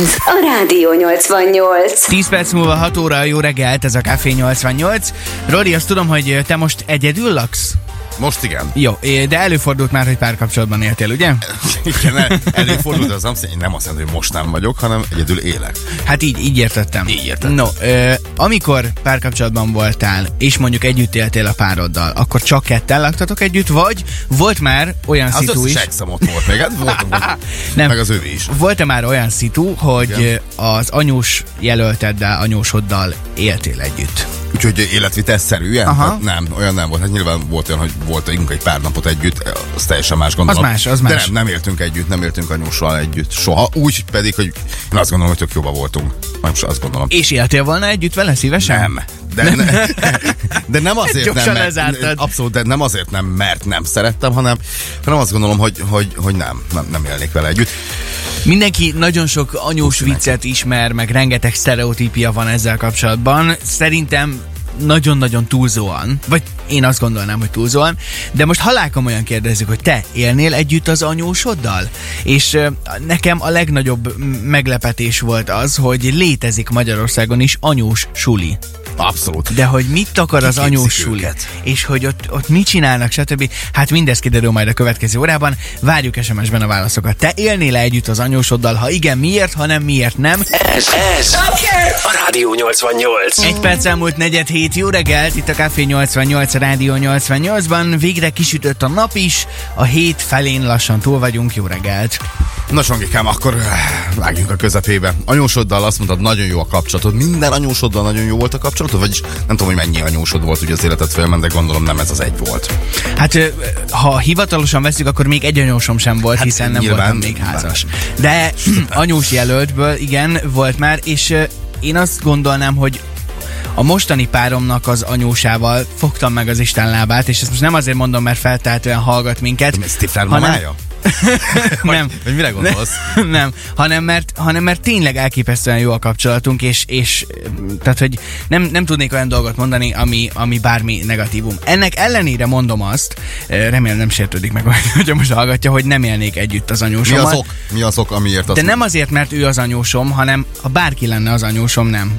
Ez a Rádió 88. 10 perc múlva 6 óra, jó reggelt, ez a Café 88. Roli, azt tudom, hogy te most egyedül laksz? Most igen. Jó, de előfordult már, hogy párkapcsolatban éltél, ugye? Igen, el- előfordult, de az nem, szerint- nem azt jelenti, hogy most nem vagyok, hanem egyedül élek. Hát így, így értettem. Így értettem. No, ö, amikor párkapcsolatban voltál, és mondjuk együtt éltél a pároddal, akkor csak ketten laktatok együtt, vagy volt már olyan Az szitu összes is... exem ott volt még, hát volt, volt, Nem. meg az övé is. Volt-e már olyan szitu, hogy Igen. ö, az anyós jelölteddel, anyósoddal éltél együtt? Úgyhogy életvitelszerűen, Aha. tehát nem, olyan nem volt. Hát nyilván volt olyan, hogy voltunk egy pár napot együtt, az teljesen más gondolom. Az más, az De más. nem, nem éltünk együtt, nem éltünk anyussal együtt soha. Úgy pedig, hogy én azt gondolom, hogy tök jobban voltunk. Nem is azt gondolom. És éltél volna együtt vele szívesen? Nem. De, nem. Ne, de nem azért Gyorsan nem, mert, lezártad. abszolút, de nem azért nem, mert nem szerettem, hanem, hanem azt gondolom, hogy, hogy, hogy nem, nem, nem élnék vele együtt. Mindenki nagyon sok anyós viccet ismer, meg rengeteg sztereotípia van ezzel kapcsolatban. Szerintem nagyon-nagyon túlzóan, vagy én azt gondolnám, hogy túlzóan, de most halálkom olyan kérdezzük, hogy te élnél együtt az anyósoddal? És ö, nekem a legnagyobb m- meglepetés volt az, hogy létezik Magyarországon is anyós suli. Abszolút. De hogy mit akar az Kiképzik anyós suli, őket. és hogy ott, ott mit csinálnak, stb. Hát mindez kiderül majd a következő órában. Várjuk SMS-ben a válaszokat. Te élnél -e együtt az anyósoddal? Ha igen, miért? Ha nem, miért nem? Ez, ez a Rádió 88. Egy perc elmúlt negyed hét, jó reggelt, itt a Café 88, a Rádió 88-ban. Végre kisütött a nap is, a hét felén lassan túl vagyunk, jó reggelt. Na Songikám, akkor eh, vágjunk a közepébe. Anyósoddal azt mondtad, nagyon jó a kapcsolatod. Minden anyósoddal nagyon jó volt a kapcsolatod, vagyis nem tudom, hogy mennyi anyósod volt ugye az életed fölment, de gondolom nem ez az egy volt. Hát ö, ha hivatalosan veszük, akkor még egy anyósom sem volt, Hát, hiszen nem nyilván, voltam még nyilván. házas. De anyós jelöltből igen, volt már, és ö, én azt gondolnám, hogy a mostani páromnak az anyósával fogtam meg az Isten lábát, és ezt most nem azért mondom, mert feltétlenül hallgat minket. Ez Stifler hanem- mamája? Nem. Vagy mire gondolsz? Nem, hanem mert, hanem mert tényleg elképesztően jó a kapcsolatunk, és, és mm, tehát, hogy nem, nem tudnék olyan dolgot mondani, ami, ami bármi negatívum. Ennek ellenére mondom azt, eh, remélem nem sértődik meg, hogyha most hallgatja, hogy nem élnék együtt az Mi anyósommal. az ok? Mi az ok, amiért azt De nem azért, mert ő az anyósom, hanem ha bárki lenne az anyósom, nem.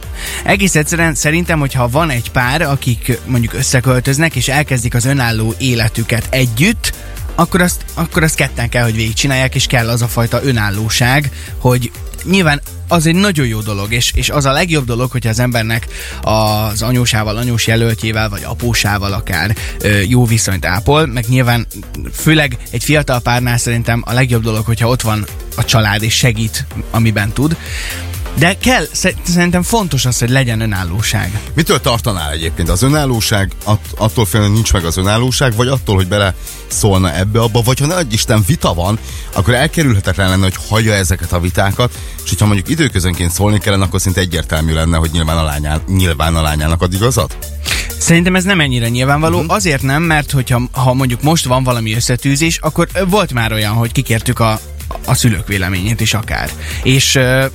Egész egyszerűen szerintem, hogyha van egy pár, akik mondjuk összeköltöznek, és elkezdik az önálló életüket együtt, akkor azt, akkor azt ketten kell, hogy végigcsinálják, és kell az a fajta önállóság, hogy nyilván az egy nagyon jó dolog, és, és az a legjobb dolog, hogyha az embernek az anyósával, anyós jelöltjével, vagy apósával akár ö, jó viszonyt ápol, meg nyilván főleg egy fiatal párnál szerintem a legjobb dolog, hogyha ott van a család és segít, amiben tud. De kell, sze- szerintem fontos az, hogy legyen önállóság. Mitől tartanál egyébként? Az önállóság, att, attól félni, hogy nincs meg az önállóság, vagy attól, hogy bele szólna ebbe abba, vagy ha nagy Isten vita van, akkor elkerülhetetlen lenne, hogy hagyja ezeket a vitákat, és hogyha mondjuk időközönként szólni kellene, akkor szinte egyértelmű lenne, hogy nyilván a, lányán, nyilván a lányának ad igazat. Szerintem ez nem ennyire nyilvánvaló, Mhm. uh-huh. azért nem, mert hogyha ha mondjuk most van valami összetűzés, akkor ö, volt már olyan, hogy kikértük a, a szülők véleményét is akár. És ö,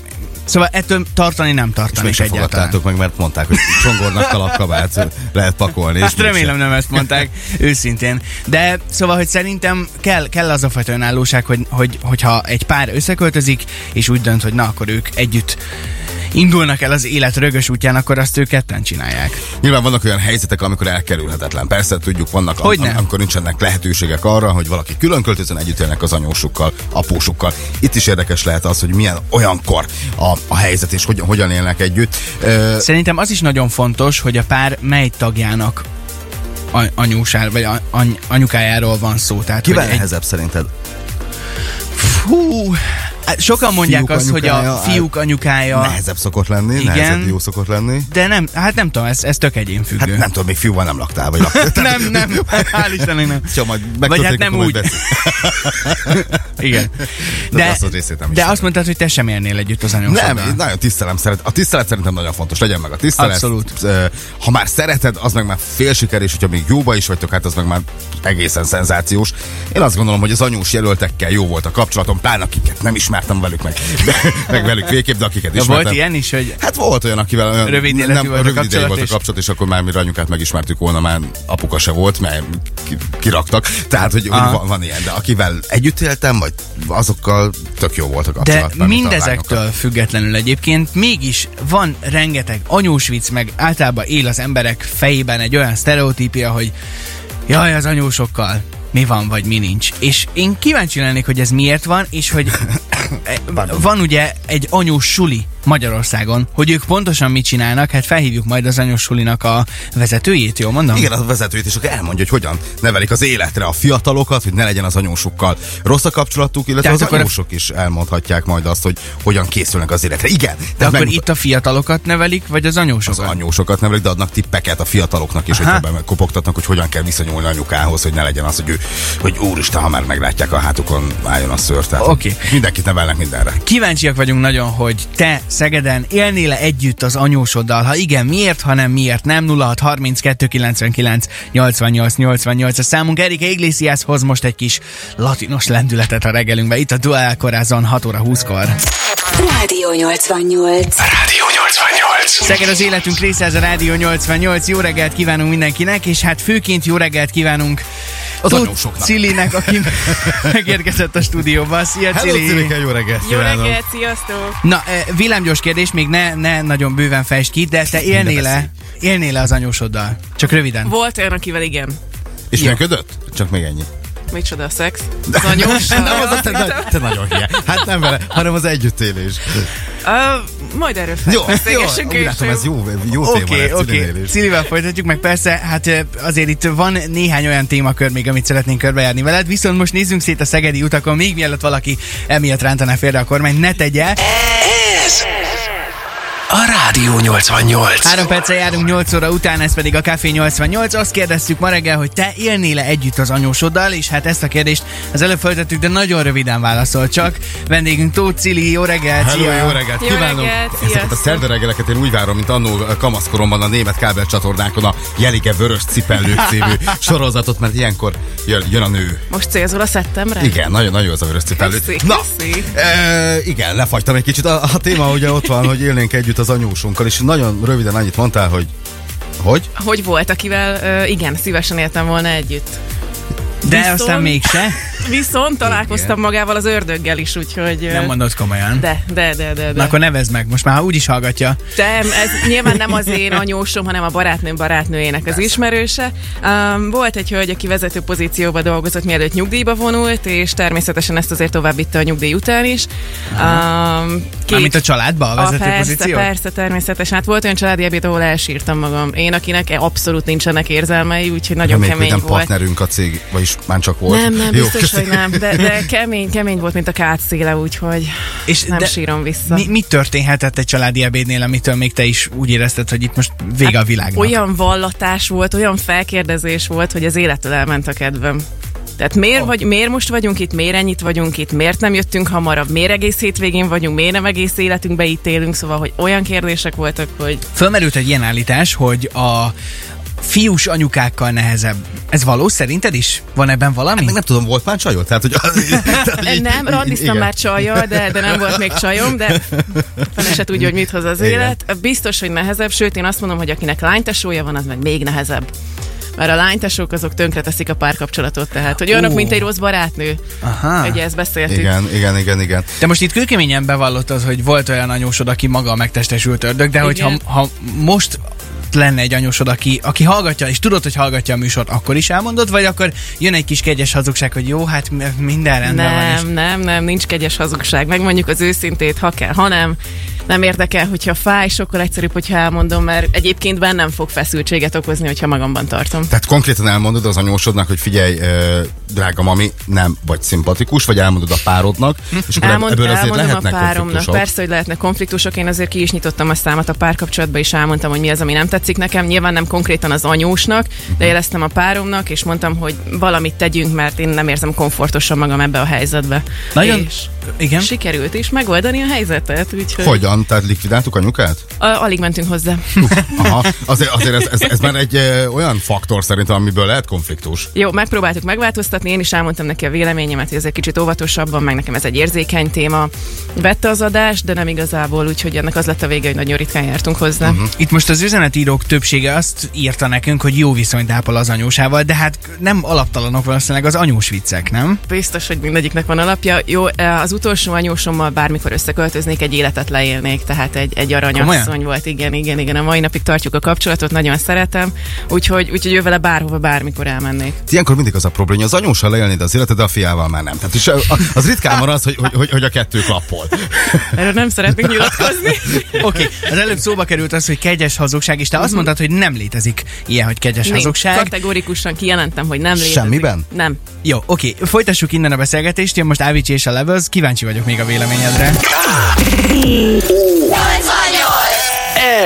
szóval ettől tartani nem És tartani mégsem egyáltalán. fogadtátok meg, mert mondták, hogy csongornak kalapkabát lehet pakolni. és Hát remélem mégsem. nem ezt mondták, őszintén. De szóval, hogy szerintem kell, kell az a fajta önállóság, hogy, hogy, hogyha egy pár összeköltözik, és úgy dönt, hogy na, akkor ők együtt indulnak el az élet rögös útján, akkor azt ők ketten csinálják. Nyilván vannak olyan helyzetek, amikor elkerülhetetlen. Persze, tudjuk, vannak, am- Hogyne. am- amikor nincsenek lehetőségek arra, hogy valaki külön költözön, együtt élnek az anyósukkal, apósukkal. Itt is érdekes lehet az, hogy milyen olyankor a, a helyzet, és hogyan, hogyan élnek együtt. Ö, Szerintem az is nagyon fontos, hogy a pár mely tagjának a- anyúsár, vagy a- any, anyukájáról van szó. Tehát, kivel hogy egy, nehezebb szerinted? hú, hát sokan mondják Fiúk azt, hogy a anyukája, hát fiúk anyukája, Nehezebb szokott lenni, Igen. nehezebb jó szokott lenni. de nem, hát nem tudom, ez, ez tök egyénfüggő. Hát nem tudom, még fiúval nem laktál, vagy laktál. nem, nem, hál' Istennek nem. Ha majd Vagy hát megtörténik, nem akkor majd úgy. beszélünk. Igen. De azt a részét nem de ismerem. azt mondtad, hogy te sem élnél együtt az anyósoddal. Nem, én nagyon tisztelem szeret. A tisztelet szerintem nagyon fontos, legyen meg a tisztelet. Abszolút. Ö, Ha már szereted, az meg már fél siker, és hogyha még jóba is vagytok, hát az meg már egészen szenzációs. Én azt gondolom, hogy az anyós jelöltekkel jó volt a kapcsolatom, pláne akiket nem ismertem velük meg. meg velük végképp, de akiket Ja, ismertem. volt ilyen is, hogy Hát volt olyan, akivel olyan Rövid életű nem, volt a rövid ideig kapcsolat, volt a és- kapcsolat, és akkor már mi anyukát megismertük volna, már apuka se volt, mert ki- kiraktak. Tehát, hogy, hogy Aha. van, van ilyen, de akivel együtt éltem, vagy azokkal tök jó volt a De kapcsolat. mármint a lányokkal. mindezektől függetlenül egyébként mégis van rengeteg anyósvic, meg általában él az emberek fejében egy olyan sztereotípia, hogy jaj, az anyósokkal mi van, vagy mi nincs. És én kíváncsi lennék, hogy ez miért van, és hogy van ugye egy anyós suli Magyarországon, hogy ők pontosan mit csinálnak, hát felhívjuk majd az anyós sulinak a vezetőjét, jól mondom? Igen, a vezetőt is, aki elmondja, hogy hogyan nevelik az életre a fiatalokat, hogy ne legyen az anyósukkal rossz a kapcsolatuk, illetve Tehát az akkor- anyósok is elmondhatják majd azt, hogy hogyan készülnek az életre. Igen, tehát De akkor megmutat- itt a fiatalokat nevelik, vagy az az anyósokat? anyósokat nevelik, de adnak tippeket a fiataloknak is, Aha. hogyha be- kopogtatnak, hogy hogyan kell viszonyulni anyukához, hogy ne legyen az, hogy, ő, hogy úristen, ha már meglátják a hátukon, álljon a szőr. Tehát Oké. Mindenkit nevelnek mindenre. Kíváncsiak vagyunk nagyon, hogy te Szegeden élnél -e együtt az anyósoddal? Ha igen, miért, ha nem, miért nem? 0632 99 88 88 a számunk. Erika Iglesias hoz most egy kis latinos lendületet a reggelünkbe. Itt a Dual Korazon 6 óra 20-kor. Rádió 88. Rádió 88. Szeged az életünk része, ez a Rádió 88. Jó reggelt kívánunk mindenkinek, és hát főként jó reggelt kívánunk az anyósoknak. Cilinek, aki megérkezett a stúdióba. Szia, Cili! jó reggelt! Jó reggelt, sziasztok! Na, eh, villámgyors kérdés, még ne, ne nagyon bőven fejtsd ki, de te élnél-e, élnél az anyósoddal? Csak röviden. Volt olyan, akivel igen. És Jó. működött? Csak még ennyi. Micsoda a szex? Az anyós? Nem, az a te, nagy- te nagyon hiány. Hát nem vele, hanem az együttélés. Ö, Majd erről Jó, jó, felbeszélgessünk úgy látom, ez jó, jó téma Oké, lett oké. Cilinél is. Cilivel folytatjuk, meg persze, hát eh, azért itt van néhány olyan témakör még, amit szeretnénk körbejárni veled, viszont most nézzünk szét a szegedi utakon, még mielőtt valaki emiatt rántaná félre a kormányt, ne tegye. Ez a Rádió 88. Három perccel járunk 8 óra után, ez pedig a Café 88. Azt kérdeztük ma reggel, hogy te élnél -e együtt az anyósoddal, és hát ezt a kérdést az előbb feltettük, de nagyon röviden válaszol csak. Vendégünk Tóth Cili, jó reggelt! Hello, szia! jó reggelt! Jó Kívánom! reggelt, Ezeket a sziasztok. szerda reggeleket én úgy várom, mint annó kamaszkoromban a német kábelcsatornákon a Jelige Vörös Cipellő című sorozatot, mert ilyenkor jön, jön a nő. Most célzol a szettemre? Igen, nagyon, nagyon jó az a vörös cipellő. Köszi, Na, köszi. e, igen, lefagytam egy kicsit. A, a téma ugye ott van, hogy élnénk együtt az anyósunkkal, és nagyon röviden annyit mondtál, hogy hogy? Hogy volt, akivel ö, igen, szívesen éltem volna együtt. De Viszont- aztán mégse. Viszont találkoztam magával az ördöggel is, úgyhogy... ö, Nem mondod komolyan. De. De, de, de, de. de. Na akkor nevezd meg, most már ha úgy is hallgatja. Nem, ez nyilván nem az én anyósom, hanem a barátnőm barátnőjének az ismerőse. Um, volt egy hölgy, aki vezető pozícióba dolgozott, mielőtt nyugdíjba vonult, és természetesen ezt azért továbbítta a nyugdíj után is. Um, Ah, Amit a családba a vezető persze, pozíció? Persze, természetesen. Hát volt olyan családi ebéd, ahol elsírtam magam. Én, akinek abszolút nincsenek érzelmei, úgyhogy nagyon Reméljük, hogy kemény nem volt. partnerünk a cég, vagyis már csak volt. Nem, nem, biztos, köszi. hogy nem, de, de kemény, kemény volt, mint a kád széle, úgyhogy És nem de- sírom vissza. Mi, mi történhetett egy családi ebédnél, amitől még te is úgy érezted, hogy itt most vége a világnak? Hát, Olyan vallatás volt, olyan felkérdezés volt, hogy az élettől elment a kedvem. Tehát miért, vagy, miért most vagyunk itt, miért ennyit vagyunk itt, miért nem jöttünk hamarabb, miért egész hétvégén vagyunk, miért nem egész életünkbe itt élünk, szóval, hogy olyan kérdések voltak, hogy Fölmerült egy ilyen állítás, hogy a fiús anyukákkal nehezebb. Ez való szerinted is? Van ebben valami? Hát Meg nem tudom, volt már csajod? Tehát, hogy... tehát, így- nem, randiztam igen. már csajjal, de, de nem volt még csajom, de fene se tudja, hogy mit hoz az Igen. élet. Biztos, hogy nehezebb, sőt én azt mondom, hogy akinek lánytesója van, az meg még nehezebb. Mert a lánytesók azok tönkreteszik a párkapcsolatot, tehát, hogy olyanok, Ó. mint egy rossz barátnő. Aha. Ugye ezt beszéltük. Igen, igen, igen, igen. Te most itt kőkeményen bevallottad, hogy volt olyan anyósod, aki maga megtestesült ördög, de hogyha ha most lenne egy anyósod, aki, aki hallgatja, és tudod, hogy hallgatja a műsort, akkor is elmondod, vagy akkor jön egy kis kegyes hazugság, hogy jó, hát m- minden rendben van. És... Nem, nem, nem, nincs kegyes hazugság. Megmondjuk az őszintét, ha kell, ha nem. Nem érdekel, hogyha fáj, sokkal egyszerűbb, hogyha elmondom, mert egyébként bennem fog feszültséget okozni, hogyha magamban tartom. Tehát konkrétan elmondod az anyósodnak, hogy figyelj, ö, drága mami, nem vagy szimpatikus, vagy elmondod a párodnak, és akkor Hm. Elmond, ebből azért elmondom a lehetnek páromnak, konfliktusok. persze, hogy lehetnek konfliktusok, én azért ki is nyitottam a számat a párkapcsolatba, és elmondtam, hogy mi az, ami nem tetszik nekem. Nyilván nem konkrétan az anyósnak, de jeleztem a páromnak, és mondtam, hogy valamit tegyünk, mert én nem érzem komfortosan magam ebbe a helyzetbe. Nagyon- És Igen? sikerült is megoldani a helyzetet, úgyhogy... Hogyan? Komolyan, tehát likvidáltuk a nyukát? A- Alig mentünk hozzá. Aha, azért, azért ez, ez, ez már egy ö, olyan faktor szerintem, amiből lehet konfliktus. Jó, megpróbáltuk megváltoztatni, én is elmondtam neki a véleményemet, hogy ez egy kicsit óvatosabban, meg nekem ez egy érzékeny téma. Vette az adást, de nem igazából, úgyhogy ennek az lett a vége, hogy nagyon ritkán jártunk hozzá. Uh-huh. Itt most az üzenetírók többsége azt írta nekünk, hogy jó viszonyt ápol az anyósával, de hát nem alaptalanok valószínűleg az anyós viccek, nem? Biztos, hogy mindegyiknek van alapja. Jó, eh, az utolsó anyósommal bármikor összeköltöznék, egy életet leélnék, tehát egy, egy aranyasszony Komolyan? volt. Igen, igen, igen. A mai napig tartjuk a kapcsolatot, nagyon szeretem, úgyhogy, úgyhogy ő vele bárhova, bármikor elmennék. Ilyenkor mindig az a probléma, hogy az anyóssal leélnéd az életed, de a fiával már nem. Tehát is, ö, az ritkán van az, hogy, hogy- hogy, hogy a kettő klappol. Erről nem szeretnék nyilatkozni. Oké, okay, az előbb szóba került az, hogy kegyes hazugság, és te azt mondtad, hogy nem létezik ilyen, hogy kegyes Nincs. hazugság. Kategórikusan kijelentem, hogy nem létezik. Semmiben? Nem. Jó, oké, okay, folytassuk innen a beszélgetést, jön most Avicii és a Levels, kíváncsi vagyok még a véleményedre.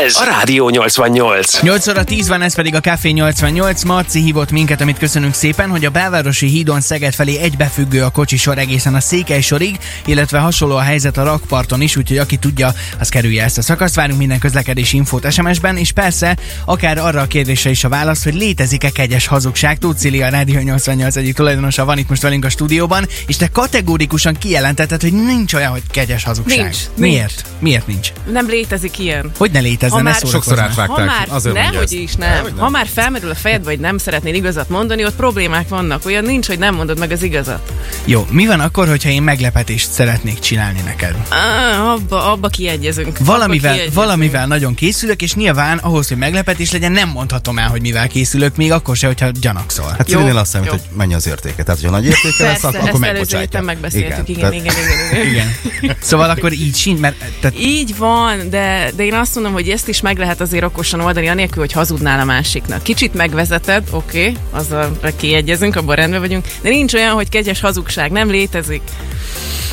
Ez a Rádió 88. 8 óra 10 van, ez pedig a Café 88. Marci hívott minket, amit köszönünk szépen, hogy a belvárosi hídon Szeged felé egybefüggő a kocsi sor egészen a Székely sorig, illetve hasonló a helyzet a rakparton is, úgyhogy aki tudja, az kerülje ezt a szakaszt. Várunk minden közlekedési infót SMS-ben, és persze akár arra a kérdésre is a válasz, hogy létezik-e kegyes hazugság. Tóth Cili, a Rádió 88 egyik tulajdonosa van itt most velünk a stúdióban, és te kategórikusan kijelentetted, hogy nincs olyan, hogy kegyes hazugság. Nincs, nincs. Miért? Miért nincs? Nem létezik ilyen. Hogy ne létezne, Ha ne már- Sokszor szórakozzál. Ha átvágták. már, Azért mondja nehogy ezt. is nem. Dehogy Ha már felmerül a fejed, vagy nem szeretnél igazat mondani, ott problémák vannak. Olyan nincs, hogy nem mondod meg az igazat. Jó, mi van akkor, hogyha én meglepetést szeretnék csinálni neked? Á, abba, abba kiegyezünk. abba Valamivel, kiegyezünk. valamivel nagyon készülök, és nyilván ahhoz, hogy meglepetés legyen, nem mondhatom el, hogy mivel készülök, még akkor se, hogyha gyanakszol. Hát Jó, Cilinél azt számít, jó. hogy mennyi az értéke. Tehát, hogyha nagy értéke lesz, Persze, akkor, ezt akkor előző héten megbocsátja. megbeszéltük, igen, igen, Tehát igen, igen, igen. Igen. Szóval akkor így sincs, mert tehát Így van, de, de én azt mondom, hogy ezt is meg lehet azért okosan oldani, anélkül, hogy hazudnál a másiknak. Kicsit megvezeted, oké, okay, azzal kiegyezünk, abban rendben vagyunk, de nincs olyan, hogy kegyes hazugság, nem létezik.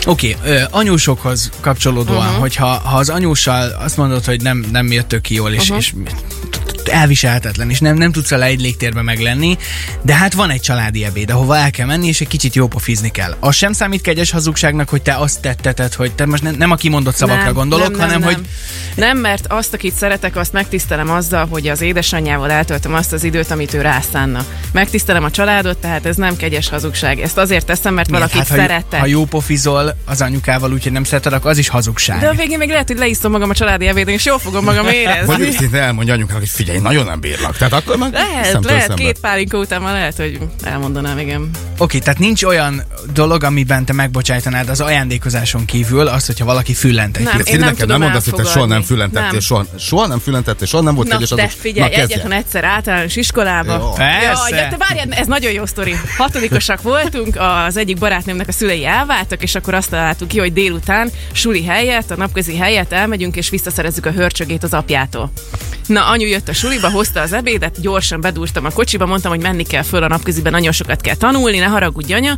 Oké, okay, anyósokhoz kapcsolódóan, Mhm. uh-huh. hogyha ha az anyóssal azt mondod, hogy nem, nem jöttök ki jól, és, Mhm. uh-huh. és elviselhetetlen, és nem, nem tudsz vele egy légtérben meglenni, de hát van egy családi ebéd, ahova el kell menni, és egy kicsit jópofizni kell. Az sem számít kegyes hazugságnak, hogy te azt tetteted, hogy te most nem, nem a kimondott szavakra nem, gondolok, nem, nem, hanem nem. hogy Nem, mert azt, akit szeretek, azt megtisztelem azzal, hogy az édesanyjával eltöltöm azt az időt, amit ő rászánna. Megtisztelem a családot, tehát ez nem kegyes hazugság. Ezt azért teszem, mert miért? valakit hát, ha, jó- szeretek. ha jópofizol az anyukával, úgyhogy nem szereted, akkor az is hazugság. de a végén még lehet, hogy leiszom magam a családi ebédön, és jól fogom magam Vagy érezni. őszintén elmondja anyukának, hogy figyelj, nagyon nem bírlak. Tehát akkor meg Lehet, szemtől lehet, szembe. két pálinka után már lehet, hogy elmondanám, igen. Oké, tehát nincs olyan dolog, amiben te megbocsájtanád az ajándékozáson kívül azt, hogyha valaki füllent egy Nem, Tehát én Cili, nem nekem nem tudom mondasz, hogy te soha nem elfogadni. füllentettél, Nem. soha, soha nem füllentettél, soha nem volt Na, kegyes te azok. figyelj, kezdje. egyetlen egyszer általános Jó. iskolába. Persze. Jaj, de te várjál, ez nagyon jó sztori. Hatodikosak voltunk, az egyik barátnőmnek a szülei elváltak, és akkor azt találtuk ki, hogy délután suli helyett, a napközi helyett elmegyünk, és visszaszerezzük a hörcsögét az apjától. Na, anyu jött a suliba, hozta az ebédet, gyorsan bedúrtam a kocsiba, mondtam, hogy menni kell föl a napköziben, nagyon sokat kell tanulni, ne haragudj, anya.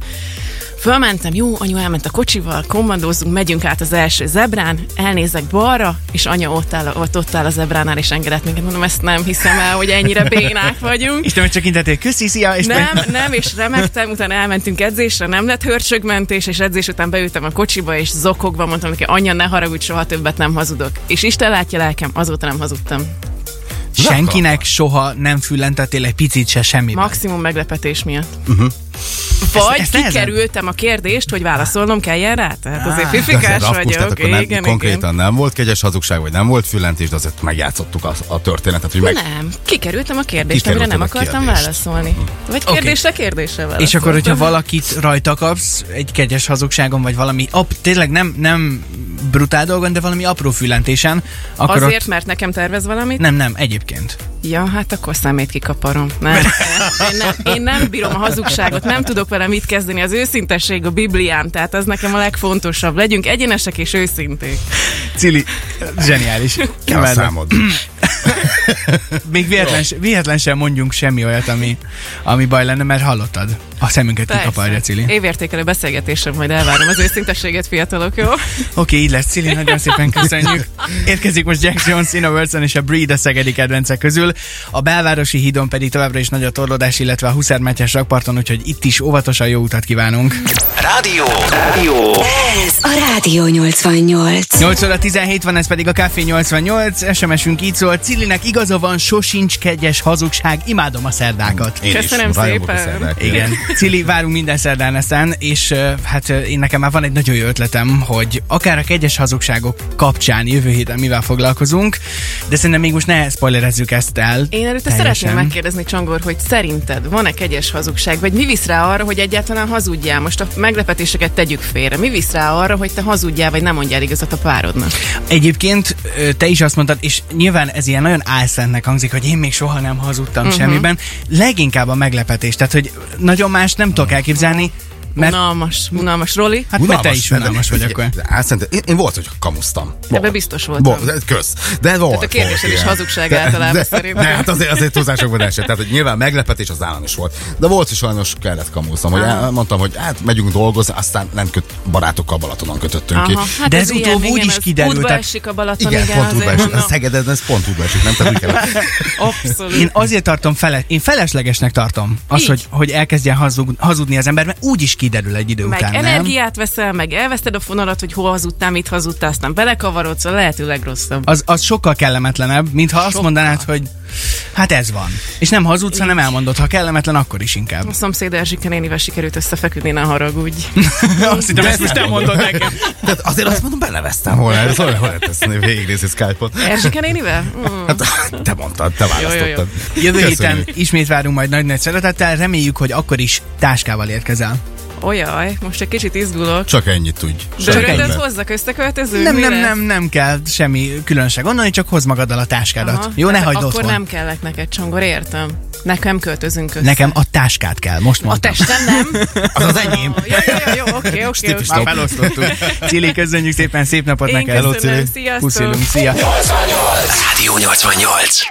Fölmentem, jó, anyu elment a kocsival, kommandózunk, megyünk át az első zebrán, elnézek balra, és anya ott áll, ott, ott áll a zebránál, és engedett minket. Mondom, ezt nem hiszem el, hogy ennyire bénák vagyunk. Isten, hogy csak intetél, köszi, szia, és Nem, nem, és remektem, utána elmentünk edzésre, nem lett hörcsögmentés, és edzés után beültem a kocsiba, és zokogva mondtam neki, anya, ne haragudj, soha többet nem hazudok. És Isten látja lelkem, azóta nem hazudtam. Senkinek soha nem füllentettél egy picit se semmiben. Maximum meglepetés miatt. Vagy Mhm. Ezt- ezt, ezt nehezen- kikerültem a kérdést, hogy válaszolnom kelljen rá, tehát azért Á, De azért fifikás raffus, tehát vagyok. akkor nem, Igen, konkrétan igen. nem volt kegyes hazugság, vagy nem volt füllentés, de azért megjátszottuk a, a történetet, hogy meg... Nem, kikerültem a kérdést, amire Kikerülted nem a akartam kérdést. válaszolni. Vagy Mhm. Oké. kérdésre kérdésre válaszoltam. És akkor, hogyha valakit rajta kapsz egy kegyes hazugságon, vagy valami, ap, tényleg nem, nem brutál dolgon, de valami apró füllentésen, akkor Azért, ott... mert nekem tervez valamit? Nem, nem, egyébként. Ja, hát akkor számét kikaparom. Nem, én nem, én nem bírom a hazugságot, nem tudok vele mit kezdeni. Az őszintesség a Bibliám, tehát az nekem a legfontosabb. Legyünk egyenesek és őszinték. Cili, zseniális. Kell a számod. Még véletlen, véletlen sem mondjunk semmi olyat, ami, ami baj lenne, mert hallottad. A szemünket kikaparja, Cili. Oké, Évértékelő beszélgetésre majd elvárom az őszintességet, fiatalok, jó? okay, így lesz, Cili, nagyon szépen köszönjük. Érkezik most Jack Jones, Ina Wilson és a Breed a szegedi kedvencek közül. A belvárosi hídon pedig továbbra is nagy a torlódás, illetve a Huszármátyás rakparton, úgyhogy itt is óvatosan jó utat kívánunk. Rádió. Rádió. Ez a Rádió 88. 8 óra 17 van, ez pedig a Café 88, SMS-ünk így szól, Cilinek igaza van, sosincs kegyes hazugság, imádom a szerdákat. Én Köszönöm is, rajongok a szépen. szerdákra. Igen. Cili, várunk minden szerdán ezen, és ö, hát ö, én nekem már van egy nagyon jó ötletem, hogy akár a kegyes hazugságok kapcsán jövő héten mivel foglalkozunk, de szerintem még most ne spoilerezzük ezt el. Én előtte szeretném megkérdezni, Csongor, hogy szerinted van-e kegyes hazugság, vagy mi visz rá arra, hogy egyáltalán hazudjál? Most a meglepetéseket tegyük félre. Mi visz rá arra, hogy te hazudjál, vagy nem mondjál igazat a párodnak? Egyébként ö, te is azt mondtad, és nyilván ez ilyen nagyon álszentnek hangzik, hogy én még soha nem hazudtam Mhm. uh-huh. semmiben. Leginkább a meglepetés, tehát hogy nagyon más nem tudok elképzelni, mert Unalmas, unalmas, Roli. hát mert te is unalmas vagy akkor. Álszent, én, én volt, hogy kamusztam. Ebben biztos voltam. Volt, de kösz. De volt. a kérdésed volt, is igen. hazugság De- általában de, szerintem. De hát azért, azért túlzásokban esett. Tehát, hogy nyilván meglepetés az állam is volt. De volt, hogy sajnos kellett kamusztam. Hogy el- mondtam, hogy hát megyünk dolgozni, aztán nem köt, barátokkal Balatonon kötöttünk ki. hát De ez ez ilyen, utóbb úgy igen, is az kiderült, Útba tehát- esik a Balaton, Igen, igen, pont azért útba esik. mondom. A Szegeden ez pont útba esik, nem? Tehát úgy kellett. Abszolút. Én azért tartom fele, én feleslegesnek tartom azt, Így. hogy, hogy elkezdjen hazug, hazudni az ember, mert úgy is kiderül egy idő meg után, nem? energiát veszel, meg elveszted a fonalat, hogy hol hazudtál, mit hazudtál, aztán belekavarodsz, a lehető legrosszabb. Az, az sokkal kellemetlenebb, mintha azt mondanád, hogy hát ez van. És nem hazudsz, hanem elmondod, ha kellemetlen, akkor is inkább. A szomszéd Erzsike nénivel sikerült összefeküdni, ne haragudj. azt hittem, ezt most nem mondod nekem. Tehát azért azt mondom, beleveztem volna. Ez olyan, hogy teszem végignézni Skype-ot. Erzsike nénivel? Mm. Hát, te mondtad, te választottad. Jövő héten Köszönjük. ismét várunk majd nagy-nagy szeretettel, reméljük, hogy akkor is táskával érkezel. Olyaj, most egy kicsit izgulok. Csak ennyit tudj. De Semmi rögtön többet. hozzak összeköltöző? Nem, mi nem, lesz? nem, nem kell semmi különöség gondolni, csak hozd magaddal a táskádat. Aha, Hát, Jó, ne tehát hagyd hát Akkor otthon. nem kellek neked, Csongor, értem. Nekem költözünk össze. Nekem a táskát kell, most A mondtam. testem nem? Az az enyém. Jó, jó, jó, jó, oké, oké, oké. Már felosztottuk. Cili, köszönjük szépen, szép napot Én neked. köszönöm, Hello, Cili. sziasztok. Puszilunk, szia. Rádió 88.